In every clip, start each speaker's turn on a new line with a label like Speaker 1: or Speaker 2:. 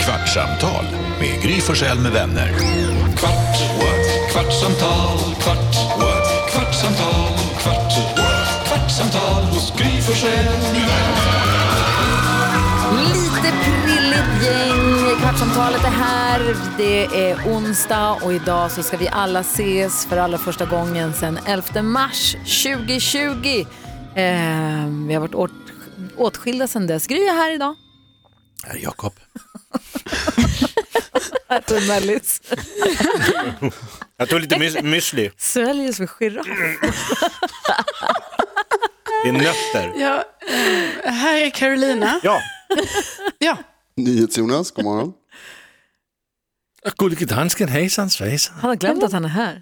Speaker 1: Kvartsamtal med Gry Forssell med vänner. Kvart, what? kvartsamtal, kvart, what? kvartsamtal, kvart, what? kvartsamtal hos Gry Forssell med vänner.
Speaker 2: Lite prilligt gäng. Kvartsamtalet är här. Det är onsdag och idag så ska vi alla ses för allra första gången sedan 11 mars 2020. Eh, vi har varit åt, åtskilda sedan dess. Gry är här idag.
Speaker 3: Här är Jakob.
Speaker 2: Äter mellis.
Speaker 3: Jag tog lite mys- müsli.
Speaker 2: Sväljer som en giraff.
Speaker 3: Det är nötter.
Speaker 4: Ja, eh, här är Carolina.
Speaker 3: Ja.
Speaker 4: Ja.
Speaker 5: NyhetsJonas, god morgon.
Speaker 3: Gullige dansken, hejsan svejsan.
Speaker 2: Han har glömt att han är här.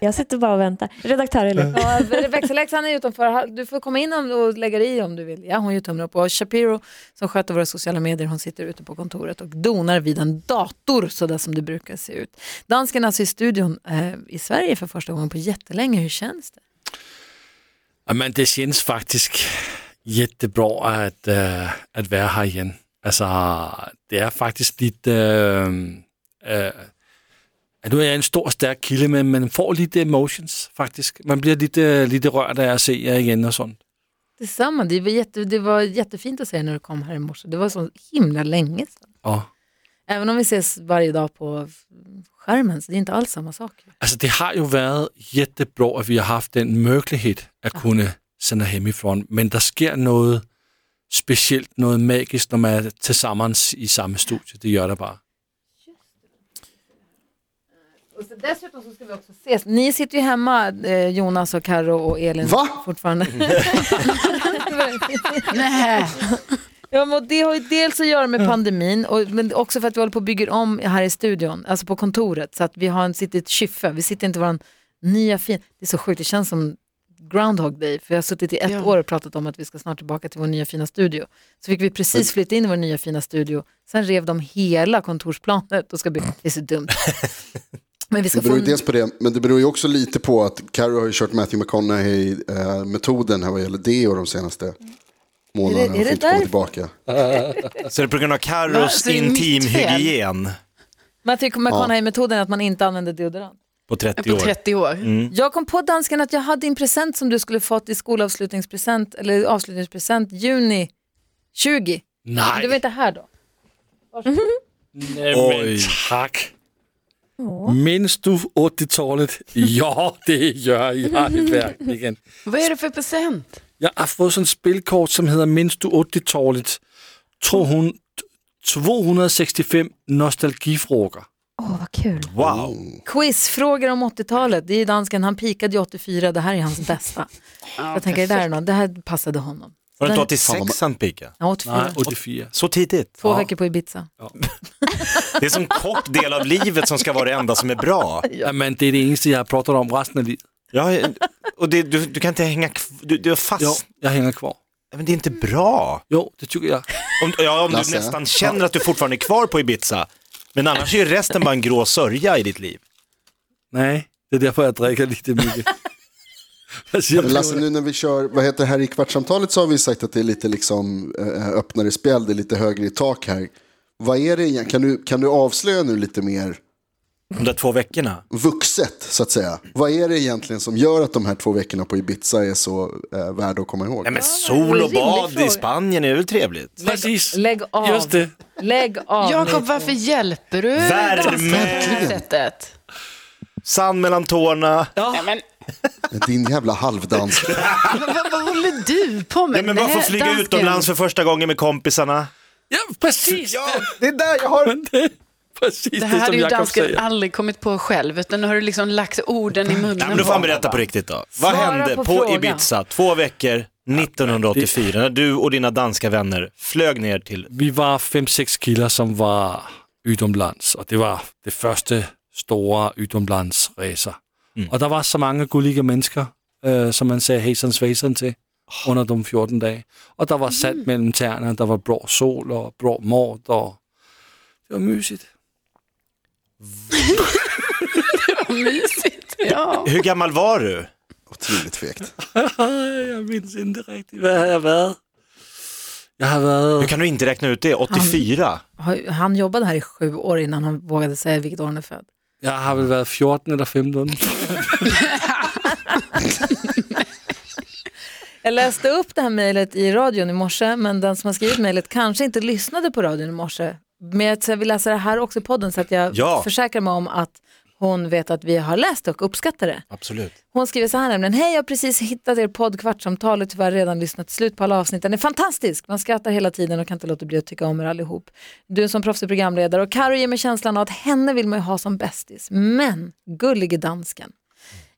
Speaker 6: Jag sitter bara och väntar. Redaktör Elin.
Speaker 2: Ja, växelläxan är utanför. Du får komma in om- och lägga dig i om du vill. Ja, hon gör tummen upp. Och Shapiro som sköter våra sociala medier, hon sitter ute på kontoret och donar vid en dator sådär som det brukar se ut. Dansken alltså i studion eh, i Sverige för första gången på jättelänge. Hur känns det?
Speaker 7: Ja, Men det känns faktiskt jättebra att, äh, att vara här igen. Alltså, det är faktiskt lite... Äh, äh, nu är jag en stor stark kille, men man får lite emotions faktiskt. Man blir lite, lite rörd av att se er igen och sånt.
Speaker 2: Detsamma, det var, jätte, det var jättefint att se när du kom här i morse. Det var så himla länge sedan.
Speaker 7: Ja.
Speaker 2: Även om vi ses varje dag på skärmen, så det är inte alls samma sak.
Speaker 7: Alltså, det har ju varit jättebra att vi har haft den möjligheten att kunna sända hemifrån, men det sker något speciellt, något magiskt när man är tillsammans i samma studio. Det gör det bara.
Speaker 2: Och så dessutom så ska vi också ses. Ni sitter ju hemma, eh, Jonas och Karo och Elin.
Speaker 5: Va?
Speaker 2: Fortfarande.
Speaker 4: Nej.
Speaker 2: ja, men det har ju dels att göra med pandemin, och, men också för att vi håller på och bygger om här i studion, alltså på kontoret. Så att vi har en, sitter i ett kyffe, vi sitter inte i vår nya fin... Det är så sjukt, det känns som Groundhog Day, för jag har suttit i ett
Speaker 4: Ja.
Speaker 2: år och pratat om att vi ska snart tillbaka till vår nya fina studio. Så fick vi precis flytta in i vår nya fina studio, sen rev de hela kontorsplanet och ska bygga. Det är så dumt. Men vi ska
Speaker 5: Det beror
Speaker 2: få
Speaker 5: ju dels på det, men det beror ju också lite på att Carro har ju kört Matthew McConaughey-metoden här vad gäller deo de senaste
Speaker 2: Är
Speaker 5: månaderna.
Speaker 2: det- Mm. är
Speaker 5: och
Speaker 2: det
Speaker 5: får inte komma
Speaker 2: därför?
Speaker 5: tillbaka.
Speaker 3: Så det är på grund
Speaker 4: Va,
Speaker 3: av Carros
Speaker 4: så det är mitt
Speaker 3: intimhygien
Speaker 2: Man tycker McConaughey-metoden är att man inte använder deodorant.
Speaker 7: På 30
Speaker 4: På
Speaker 7: år.
Speaker 4: 30 år.
Speaker 3: Mm.
Speaker 2: Jag kom på dansken att jag hade en present som du skulle fått i skolavslutningspresent, eller avslutningspresent, juni 20. Men
Speaker 7: Nej.
Speaker 2: Du var inte här då?
Speaker 7: Oj. Tack. Minns du 80-talet? Ja, det gör jag verkligen.
Speaker 4: Vad är det för present?
Speaker 7: Jag har fått sådan spelkort som heter Minns du 80-talet? 200 265 nostalgifrågor.
Speaker 6: Åh, vad kul.
Speaker 3: Wow.
Speaker 2: Quizfrågor om 80-talet, det är ju dansken, han pikade ju 84, det här är hans bästa. jag tänker det där är någon, det här passade honom.
Speaker 3: Var det inte
Speaker 2: Den-
Speaker 3: 86 han pika?
Speaker 2: Ja, 84,
Speaker 7: Nej, 84.
Speaker 3: Så tidigt?
Speaker 2: två
Speaker 3: Ja.
Speaker 2: veckor på Ibiza.
Speaker 3: Det är som kort del av livet som ska vara det enda som är bra.
Speaker 7: Ja. Men det är det enda jag har pratat om resten av livet.
Speaker 3: Ja, och det, du, du kan inte hänga kv- du, du är fast.
Speaker 7: Ja, jag hänger kvar.
Speaker 3: Men det är inte bra.
Speaker 7: Jo, det tycker jag.
Speaker 3: Om, ja, om du
Speaker 5: Lasse?
Speaker 3: nästan känner att du fortfarande är kvar på Ibiza. Men annars är ju resten bara en grå sörja i ditt liv.
Speaker 7: Nej, det är därför jag dricker lite mycket. Vad säger
Speaker 5: Men
Speaker 7: du?
Speaker 5: Lasse, nu när vi kör, vad heter det här i kvartsamtalet så har vi sagt att det är lite liksom eh, öppnare spel, det är lite högre i tak här. Vad är det egentligen? Kan du, kan du avslöja nu lite mer
Speaker 3: De där två veckorna.
Speaker 5: vuxet, så att säga? Vad är det egentligen som gör att de här två veckorna på Ibiza är så eh, värda att komma ihåg?
Speaker 3: Nej men sol och
Speaker 2: rimlig
Speaker 3: bad
Speaker 2: fråga.
Speaker 3: i Spanien är väl trevligt?
Speaker 7: Precis.
Speaker 2: Lägg av.
Speaker 7: Just det.
Speaker 2: Lägg av.
Speaker 4: Jakob,
Speaker 2: nu.
Speaker 4: varför hjälper du
Speaker 3: Värme.
Speaker 4: dansken på det här sättet?
Speaker 3: Sand mellan tårna.
Speaker 4: Nej, men,
Speaker 5: Din jävla halvdans.
Speaker 4: vad, vad håller du på med?
Speaker 3: Nej, men varför flyga
Speaker 4: dansken.
Speaker 3: utomlands för första gången med kompisarna?
Speaker 7: Ja, precis.
Speaker 3: det är där jag har...
Speaker 7: Men det, precis det,
Speaker 4: Det här hade
Speaker 7: som
Speaker 4: ju
Speaker 7: Jakob
Speaker 4: dansken
Speaker 7: säger.
Speaker 4: aldrig kommit på själv, utan nu har du liksom lagt orden i munnen
Speaker 3: Mm. Nej, men då får
Speaker 4: på
Speaker 3: han
Speaker 4: honom.
Speaker 3: berätta på riktigt då. Vad
Speaker 2: Svara
Speaker 3: hände
Speaker 2: på
Speaker 3: på,
Speaker 2: frågan.
Speaker 3: Ibiza två veckor 1984 när du och dina danska vänner flög ner till...
Speaker 7: Vi var fem, sex killar som var utomlands och det var det första stora utomlandsresa. Och det var så många gulliga människor eh, som man säger hejsan svejsan till under de 14 dagarna. Och det var sand mellan tärna, det var bra sol och bra mat och det var mysigt.
Speaker 4: Mysigt. Ja.
Speaker 3: Hur gammal var du?
Speaker 5: Otroligt fegt.
Speaker 7: Jag minns inte riktigt, vad har jag varit? Jag har
Speaker 3: Hur
Speaker 7: varit...
Speaker 3: kan du inte räkna ut det? 84?
Speaker 2: har- han jobbade här i sju år innan han vågade säga vilket år han är född.
Speaker 7: Jeg har vel været 14 eller 15.
Speaker 2: Jag läste upp det här mejlet i radion i morse, men den som har skrivit mejlet kanske inte lyssnade på radion i morse. Men jag- så jag vill läsa det här också i podden så att jag
Speaker 3: Ja.
Speaker 2: försäkrar mig om att hon vet att vi har läst och uppskattar det.
Speaker 3: Absolut.
Speaker 2: Hon skriver så här nämligen, hej jag har precis hittat er podd Kvartsamtal och tyvärr redan lyssnat slut på alla avsnitt. Den är fantastisk, man skrattar hela tiden och kan inte låta bli att tycka om er allihop. Du är som proffsig programledare och Karo ger mig känslan av att henne vill man ju ha som bästis. Men gullige dansken.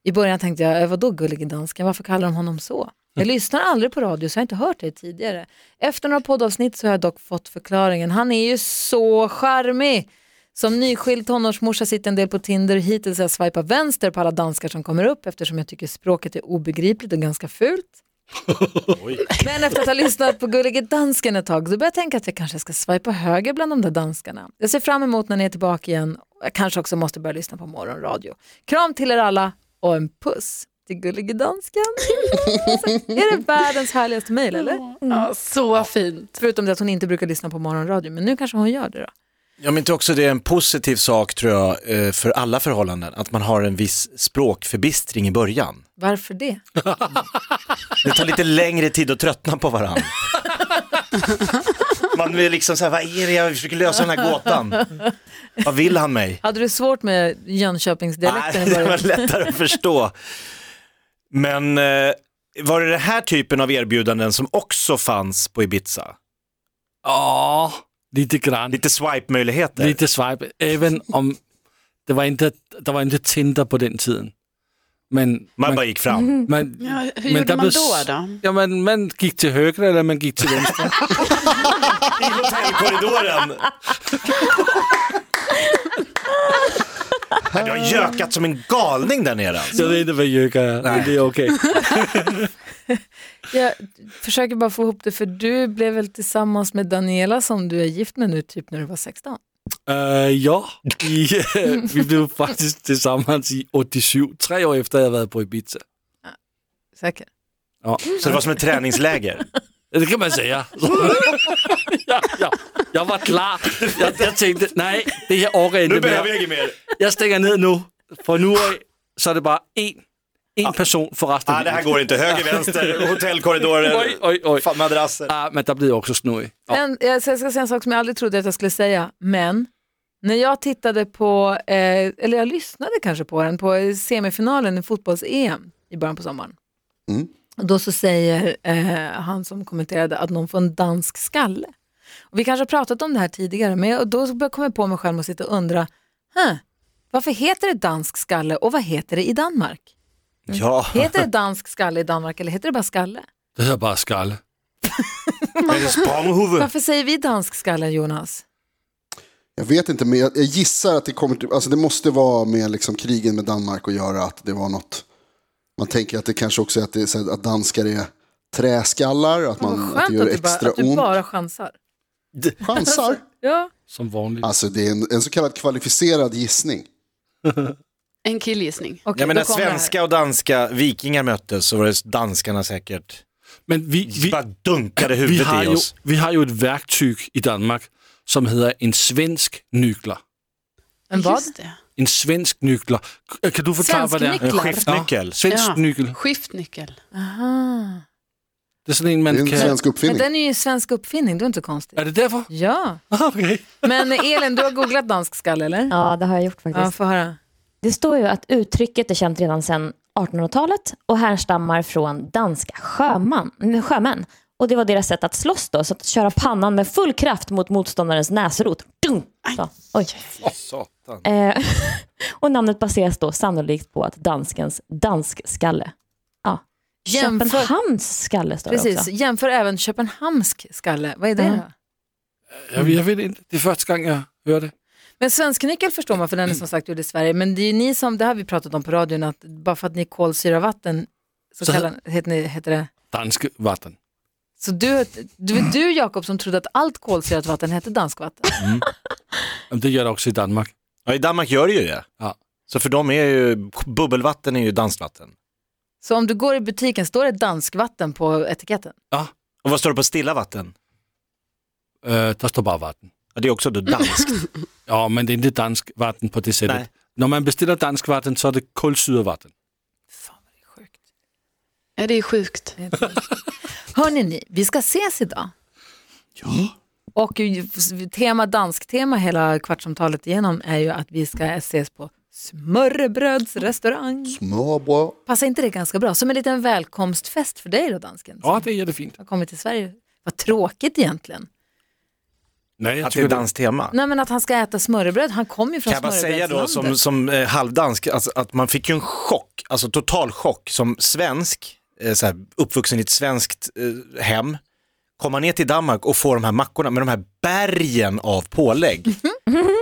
Speaker 2: I början tänkte jag, "Eh, vadå gullige dansken, varför kallar de honom så? Jag lyssnar aldrig på radio så jag har inte hört det tidigare. Efter några poddavsnitt så har jag dock fått förklaringen, han är ju så charmig. Som nyskild tonårsmorsa sitter en del på Tinder. Hittills har jag swipat vänster på alla danskar som kommer upp eftersom jag tycker språket är obegripligt och ganska fult. Men efter att ha lyssnat på Gullige Dansken ett tag så börjar jag tänka att jag kanske ska swipa höger bland de där danskarna. Jag ser fram emot när ni är tillbaka igen. och Jag kanske också måste börja lyssna på morgonradio. Kram till er alla och en puss till Gullige Dansken. är det världens härligaste mejl eller?
Speaker 4: Ja, så fint.
Speaker 2: Förutom det att hon inte brukar lyssna på morgonradio, men nu kanske hon gör det då.
Speaker 3: Ja, men inte också det är en positiv sak tror jag eh, för alla förhållanden, att man har en viss språkförbistring i början.
Speaker 2: Varför det?
Speaker 3: Det tar lite längre tid att tröttna på varandra. Man blir liksom så här, vad är det jag försöker lösa den här gåtan? Vad vill han mig?
Speaker 2: Hade du svårt med
Speaker 3: Nej,
Speaker 2: Jönköpingsdialekten i
Speaker 3: det
Speaker 2: början?
Speaker 3: var lättare att förstå. Men eh, var det den här typen av erbjudanden som också fanns på Ibiza?
Speaker 7: Åh, lite grann.
Speaker 3: Lite swipe-möjligheter?
Speaker 7: Lite swipe. Även om det var inte, der var inte Tinder på den tiden. Men
Speaker 3: Man bara gick fram.
Speaker 7: man,
Speaker 4: Ja, hur
Speaker 7: Men
Speaker 4: gjorde
Speaker 7: där
Speaker 4: man
Speaker 7: blir-
Speaker 4: då? då?
Speaker 7: ja, man, man gik til højre, eller man gik til venstre.
Speaker 3: I hotellkorridoren. Du har gökat som en galning där nere. alltså.
Speaker 7: Jeg ved ikke, hvad jøkker er, men det er okay.
Speaker 2: Jag försöker bara få ihop det, för du blev väl tillsammans med Daniela som du är gift med nu, typ när du var 16?
Speaker 7: Uh, ja, I, øh, vi blev faktisk tillsammans i 87, tre år efter jeg havde været på Ibiza.
Speaker 2: Säker?
Speaker 7: Ja,
Speaker 3: Så det var som ett träningsläger.
Speaker 7: Ja, det kan man säga. ja, ja. Jag var klar. Jag, jag tänkte, nej, det här orkar jag
Speaker 3: Nu
Speaker 7: inte
Speaker 3: behöver
Speaker 7: mer.
Speaker 3: jag inget mer.
Speaker 7: Jag stänger ner nu. Från nu av så är det bara en, en person för resten
Speaker 3: Ah, det här går inte. Höger, vänster, hotellkorridorer,
Speaker 7: Oj, oj, oj.
Speaker 3: fan, madrasser.
Speaker 7: Ah, men där blir jag också snurrig. Ja.
Speaker 2: Men, jag, ska- jag ska säga en sak som jag aldrig trodde att jag skulle säga, men när jag tittade på, eh, eller jag lyssnade kanske på den, på semifinalen i fotbolls-EM i början på sommaren.
Speaker 5: Mm.
Speaker 2: Och Då så säger eh, han som kommenterade att någon får en dansk skalle. Och vi kanske har pratat om det här tidigare, men jag, och då började jag komma på mig själv och sitta och undra, huh, varför heter det dansk skalle och vad heter det i Danmark?
Speaker 3: Ja.
Speaker 2: Heter det dansk skalle i Danmark eller heter det bara skalle?
Speaker 7: Det här är bara skalle.
Speaker 3: Är det spånghuvud?
Speaker 2: Varför säger vi dansk skalle, Jonas?
Speaker 5: Jag vet inte, men jag, jag gissar att det kommer till, alltså det måste vara med liksom krigen med Danmark att göra att det var något. Man tänker att det kanske också är att, det är, så här- att danskar är träskallar, att,
Speaker 2: Vad
Speaker 5: man, att det
Speaker 2: skönt
Speaker 5: gör
Speaker 2: att du, bara,
Speaker 5: extra
Speaker 2: att du
Speaker 5: ont.
Speaker 2: bara chansar.
Speaker 5: Chansar.
Speaker 2: Ja.
Speaker 7: Som vanligt.
Speaker 5: Alltså det är en, en så kallad kvalificerad gissning.
Speaker 4: En killgissning.
Speaker 2: Okay,
Speaker 3: Ja, men när svenska och danska vikingar möttes så var det danskarna säkert.
Speaker 7: Men vi,
Speaker 3: Vi
Speaker 7: vi,
Speaker 3: bara dunkade
Speaker 7: vi,
Speaker 3: huvudet
Speaker 7: har
Speaker 3: i
Speaker 7: ju,
Speaker 3: oss.
Speaker 7: vi har ju ett verktyg i Danmark som heter en svensk nykler.
Speaker 2: En vad?
Speaker 4: Just det.
Speaker 7: En svensk nykler. K- äh, Kan du förklara vad det är?
Speaker 2: Svensk
Speaker 3: En
Speaker 2: Klart.
Speaker 3: skiftnyckel.
Speaker 7: Svensk
Speaker 4: Ja.
Speaker 7: nykel.
Speaker 4: Skiftnyckel.
Speaker 2: Aha.
Speaker 7: Det är sådan en
Speaker 5: Det är
Speaker 7: man
Speaker 5: en
Speaker 7: kan...
Speaker 5: svensk
Speaker 2: Men
Speaker 5: uppfinning.
Speaker 2: den är ju en svensk uppfinning, det är inte konstigt.
Speaker 7: Är det därför?
Speaker 2: Ja,
Speaker 7: Ah, okay.
Speaker 2: men Elin, du har googlat dansk skalle eller?
Speaker 6: Ja, det har jag gjort
Speaker 2: Ja,
Speaker 6: faktiskt.
Speaker 2: få höra.
Speaker 6: Det står ju att uttrycket är känt redan sedan 1800-talet och härstammar från danska sjöman, nej, sjömän. Och det var deras sätt att slåss då, så att köra pannan med full kraft mot motståndarens näsrot. Dung! Så, oj. Eh, och namnet baseras då sannolikt på att danskens danskskalle. Ja.
Speaker 2: Jämför-
Speaker 6: Köpenhamns skalle står det
Speaker 2: Precis,
Speaker 6: också.
Speaker 2: jämför även köpenhamnsk skalle, vad är det
Speaker 6: Ja.
Speaker 2: då?
Speaker 7: Jag, jag vet inte, det är första gången jag hör det.
Speaker 2: Men svensknyckel förstår man för den är som sagt gjord i Sverige, men det är ju ni som, det har vi pratat om på radion, att bara för att ni är kolsyravatten så,
Speaker 7: Så-
Speaker 2: kallar, heter, ni, heter det.
Speaker 7: Dansk vatten.
Speaker 2: Så du, du, du Jakob som trodde att allt kolsyrat vatten hette danskvatten.
Speaker 7: Jamen, det gör det också i Danmark.
Speaker 3: Ja, I Danmark gör det ju det.
Speaker 7: Ja.
Speaker 3: Så för dem är ju bubbelvatten är ju dansvatten.
Speaker 2: Så om du går i butiken, står det danskvatten på etiketten?
Speaker 3: Och vad står det på stilla vatten?
Speaker 7: Uh, der står bara vatten.
Speaker 3: Ja, Och det är också då danskt.
Speaker 7: Ja, men det är inte danskvatten på det sättet.
Speaker 3: Nej.
Speaker 7: När man beställer danskvatten så är det kolsyrevatten.
Speaker 2: Fan vad det är sjukt.
Speaker 4: Ja, det är sjukt.
Speaker 2: Hörrni, ni, vi ska ses idag. Ja. Och ju- tema, dansk-tema hela kvartsamtalet igenom är ju att vi ska ses på Smörrebröds restaurang.
Speaker 5: Smörbröd.
Speaker 2: Passar inte det ganska bra? Som en liten välkomstfest för dig då, dansken?
Speaker 7: Ja, det är jättefint.
Speaker 2: Har kommit till Sverige. Vad tråkigt egentligen.
Speaker 7: Nej, jag
Speaker 3: Att det är
Speaker 7: tycker
Speaker 3: danskt tema.
Speaker 2: Nej men att han ska äta smörrebröd, han kommer ju från
Speaker 3: Kan jag bara säga då som,
Speaker 2: smörrebrödslandet.
Speaker 3: som eh, halvdansk, alltså, att man fick ju en chock, alltså total chock som svensk, eh, så här, uppvuxen i ett svenskt eh, hem, komma ner till Danmark och få de här mackorna med de här bergen av pålägg.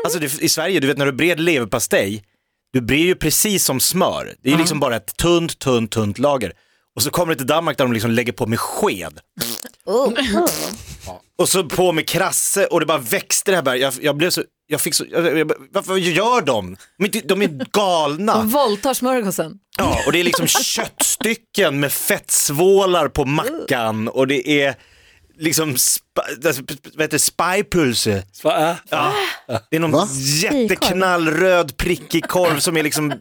Speaker 3: alltså det, i Sverige, du vet när du bred leverpastej, du brer ju precis som smör, det är ju liksom bara ett tunt, tunt, tunt lager. Och så kommer du till Danmark där de liksom lägger på med sked. Och så på med krasse och det bara växte det här berget. Jag, jag blev så, jag fick så, jag, jag, varför gör de? De är, inte- de är galna.
Speaker 2: Våldtar smörgåsen.
Speaker 3: Ja, och det är liksom köttstycken med fettsvålar på mackan och det är liksom, spa, vad heter det, spypulse.
Speaker 7: Vad är?
Speaker 3: Ja. Det är någon
Speaker 5: Va?
Speaker 3: jätteknallröd prickig korv som är liksom,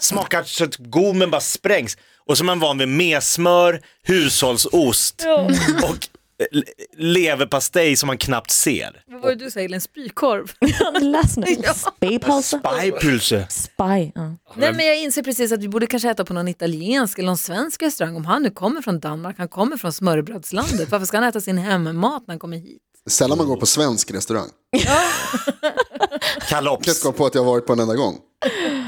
Speaker 3: smakar så att gommen bara sprängs. Och som man är van vid med smör, hushållsost och eh, leverpastej som man knappt ser.
Speaker 2: Vad var det du sa Elin, spykorv?
Speaker 6: Läs nu. Spy pulse.
Speaker 3: Spypulse.
Speaker 6: Spy. Ja.
Speaker 2: Nej men jag inser precis att vi borde kanske äta på någon italiensk eller någon svensk restaurang. Om han nu kommer från Danmark, han kommer från smörrebrödslandet. Varför ska han äta sin hemmat när han kommer hit?
Speaker 5: Sällan man går på svensk restaurang. Jag kan inte
Speaker 3: Kalops.
Speaker 5: komma på att jag har varit på en enda gång.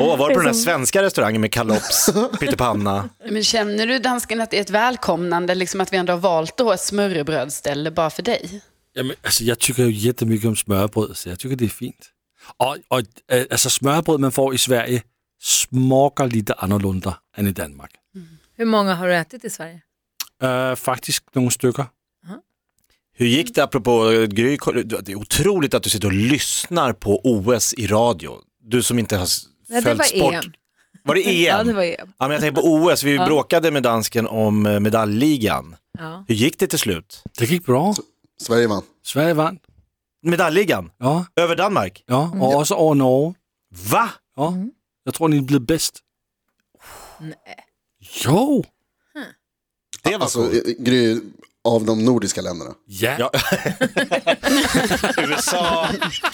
Speaker 3: Åh, var det på den där
Speaker 2: Liksom-
Speaker 3: svenska restaurangen med kalops, pyttipanna?
Speaker 4: Men känner du dansken att det är ett välkomnande, liksom att vi ändå har valt då ett smörrebrödsställe bara för dig?
Speaker 7: Jamen, altså, jeg tykker jo jättemycket om smørbrød, så jeg tykker, det er fint. Og, og øh, altså, smørbrød, man får i Sverige, smager lidt anderledes end i Danmark.
Speaker 2: Hur många har du ätit i Sverige?
Speaker 7: Øh, faktisk nogle stykker.
Speaker 3: Hur gick det apropå eh, Gry? Det är otroligt att du sitter och lyssnar på OS i radio. Du som inte har s-
Speaker 2: Nej, det
Speaker 3: följt
Speaker 2: var
Speaker 3: sport.
Speaker 2: EM.
Speaker 3: Var det E EM?
Speaker 2: Ja, det var EM.
Speaker 3: Ja, men jag tänker på OS, vi bråkade med dansken om eh, medaljligan.
Speaker 2: Ja.
Speaker 3: Hur gick det till slut?
Speaker 7: Det gik bra.
Speaker 5: Sverige vann.
Speaker 7: Sverige vandt.
Speaker 3: Medaljligan?
Speaker 7: Ja,
Speaker 3: Över Danmark?
Speaker 7: ja. Og også over Norge.
Speaker 3: Va?
Speaker 7: Ja. Jeg tror, den er blevet bedst. Nej. Jo.
Speaker 3: Det var
Speaker 5: Alltså,
Speaker 3: coolt.
Speaker 5: eh, Gry, av de nordiska länderna.
Speaker 7: Ja.
Speaker 3: Ja. USA,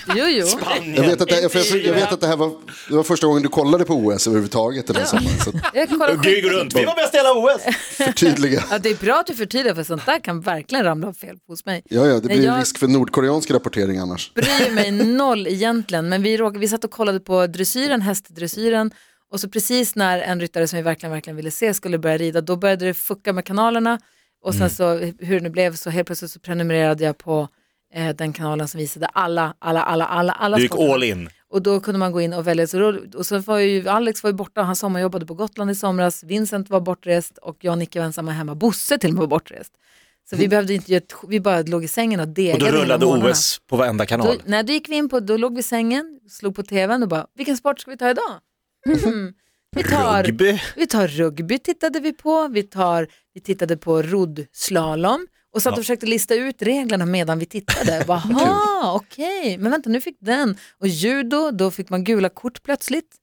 Speaker 2: Jo, jo.
Speaker 5: Jag
Speaker 3: Spanien.
Speaker 5: vet att det, jag, jag, jag vet att det här var, det var första gången du kollade på OS överhuvudtaget den här sommaren. Så att
Speaker 2: Jag kollar
Speaker 3: Gry går
Speaker 2: skit-
Speaker 3: runt, vi var bäst i hela OS.
Speaker 5: förtydliga.
Speaker 2: Ja, det är bra att du förtydligar för sånt där kan verkligen ramla av fel hos mig.
Speaker 5: Ja, ja, det blir
Speaker 2: Nej,
Speaker 5: ju
Speaker 2: jag-
Speaker 5: risk för nordkoreansk rapportering annars.
Speaker 2: bryr mig noll egentligen, men vi, råkade, vi satt och kollade på dressyren, hästdressyren och så precis när en ryttare som vi verkligen, verkligen ville se skulle börja rida, då började det fucka med kanalerna och
Speaker 3: Mm.
Speaker 2: sen så hur det nu blev så helt plötsligt så prenumererade jag på eh, den kanalen som visade alla, alla, alla, alla, alla
Speaker 3: Du gick
Speaker 2: sporter.
Speaker 3: all in.
Speaker 2: Och då kunde man gå in och välja. Så då, och så var ju Alex var ju borta, han sommarjobbade på Gotland i somras, Vincent var bortrest och jag och Nicke var ensamma hemma, Bosse till och med var bortrest. Så vi behövde inte, göra ett- vi bara låg i sängen och
Speaker 3: Mm. Och
Speaker 2: degade
Speaker 3: då
Speaker 2: hela
Speaker 3: rullade
Speaker 2: morgnarna.
Speaker 3: OS på varenda
Speaker 2: Då,
Speaker 3: kanal.
Speaker 2: nej, då gick vi in på, då låg vi i sängen, slog på tvn och bara, vilken sport ska vi ta idag? Mhm. Vi tar,
Speaker 3: Rugby.
Speaker 2: vi tar rugby tittade vi på, vi, tar, vi tittade på roddslalom och satt och försökte lista ut reglerna medan vi tittade. Jaha, okej, men vänta nu fick den. Och judo, då fick man gula kort plötsligt.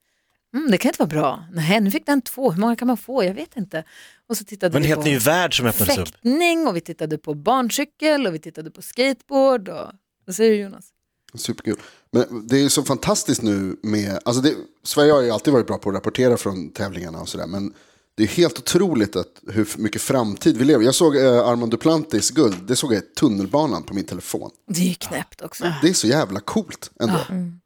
Speaker 2: Mm, det kan inte vara bra. Nej, nu fick den två, hur många kan man få? Jag vet inte. Och så tittade
Speaker 3: Men en
Speaker 2: vi
Speaker 3: helt
Speaker 2: på
Speaker 3: ny värld som öppnades upp.
Speaker 2: fäktning och vi tittade på barncykel och vi tittade på skateboard. Och, vad säger du Jonas?
Speaker 5: Superkul. Men det är ju så fantastiskt nu med, alltså det, Sverige har ju alltid varit bra på att rapportera från tävlingarna och sådär, men det är helt otroligt att hur mycket framtid vi lever. Jag såg eh, Armand Duplantis guld, det såg jag i tunnelbanan på min telefon.
Speaker 2: Det är ju knäppt också.
Speaker 5: Det är så jävla coolt ändå.
Speaker 2: Ah. Mm.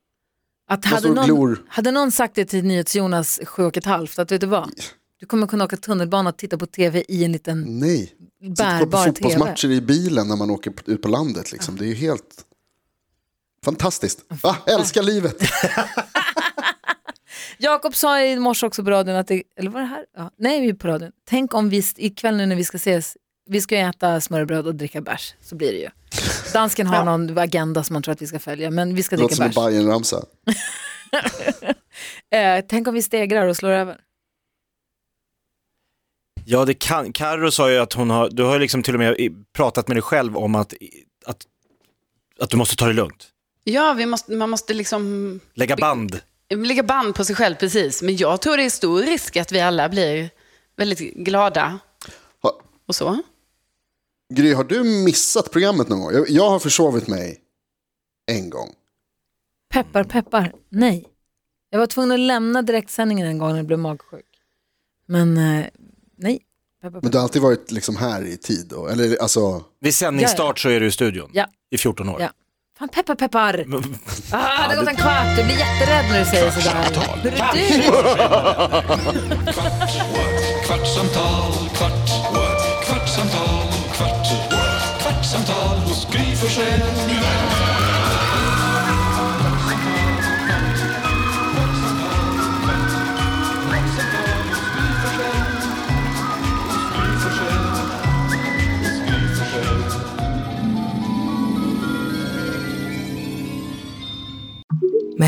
Speaker 2: Att
Speaker 5: står
Speaker 2: hade,
Speaker 5: och
Speaker 2: någon,
Speaker 5: glor.
Speaker 2: hade någon sagt det till NyhetsJonas sju och ett halvt, att vet du vad? Du kommer kunna åka tunnelbana och titta på tv i en liten
Speaker 5: Nej,
Speaker 2: bärbar
Speaker 5: sitta på
Speaker 2: tv. Ah.
Speaker 5: fotbollsmatcher i bilen när man åker p- ut på landet liksom. Det är ju helt fantastiskt. Va? Älskar livet.
Speaker 2: Jakob sa i morse också på radion, att det, eller var det här? Ja, nej, vi är på radion. Tänk om vi st- ikväll nu när vi ska ses, vi ska ju äta smörrebröd och dricka bärs, så blir det ju. Dansken har någon agenda som man tror att vi ska följa, men vi ska
Speaker 5: Det låter
Speaker 2: dricka
Speaker 5: som en
Speaker 2: bärs.
Speaker 5: Bajen-ramsa.
Speaker 2: Eh, tänk om vi stegrar och slår över.
Speaker 3: Ja, det kan. Karo sa ju att hon har, du har ju liksom till och med i- pratat med dig själv om att, i- att, att du måste ta det lugnt.
Speaker 4: Ja, vi måste, man måste liksom
Speaker 3: Lägga band.
Speaker 4: lägga band på sig själv, precis. Men jag tror det är stor risk att vi alla blir väldigt glada
Speaker 5: Ha,
Speaker 4: och så.
Speaker 5: Gry, har du missat programmet någon gång? Jag, jag har försovit mig en gång.
Speaker 2: Peppar, peppar, nej. Jag var tvungen att lämna direktsändningen en gång när jag blev magsjuk. Men eh, nej. Peppar,
Speaker 5: Men
Speaker 2: peppar.
Speaker 5: du har alltid varit liksom här i tid då? Eller alltså,
Speaker 3: Vid sändningsstart så är du i studion.
Speaker 2: Ja.
Speaker 3: I 14 år.
Speaker 2: Ja. Fan, peppar, peppar. Ah, det har gått en kvart. Du blir jätterädd när du säger sådär. Hur är du?
Speaker 1: Kvartsamtal, kvart, what? kvartsamtal, kvart, what? kvartsamtal hos Gry Forssell med vänner.
Speaker 8: Med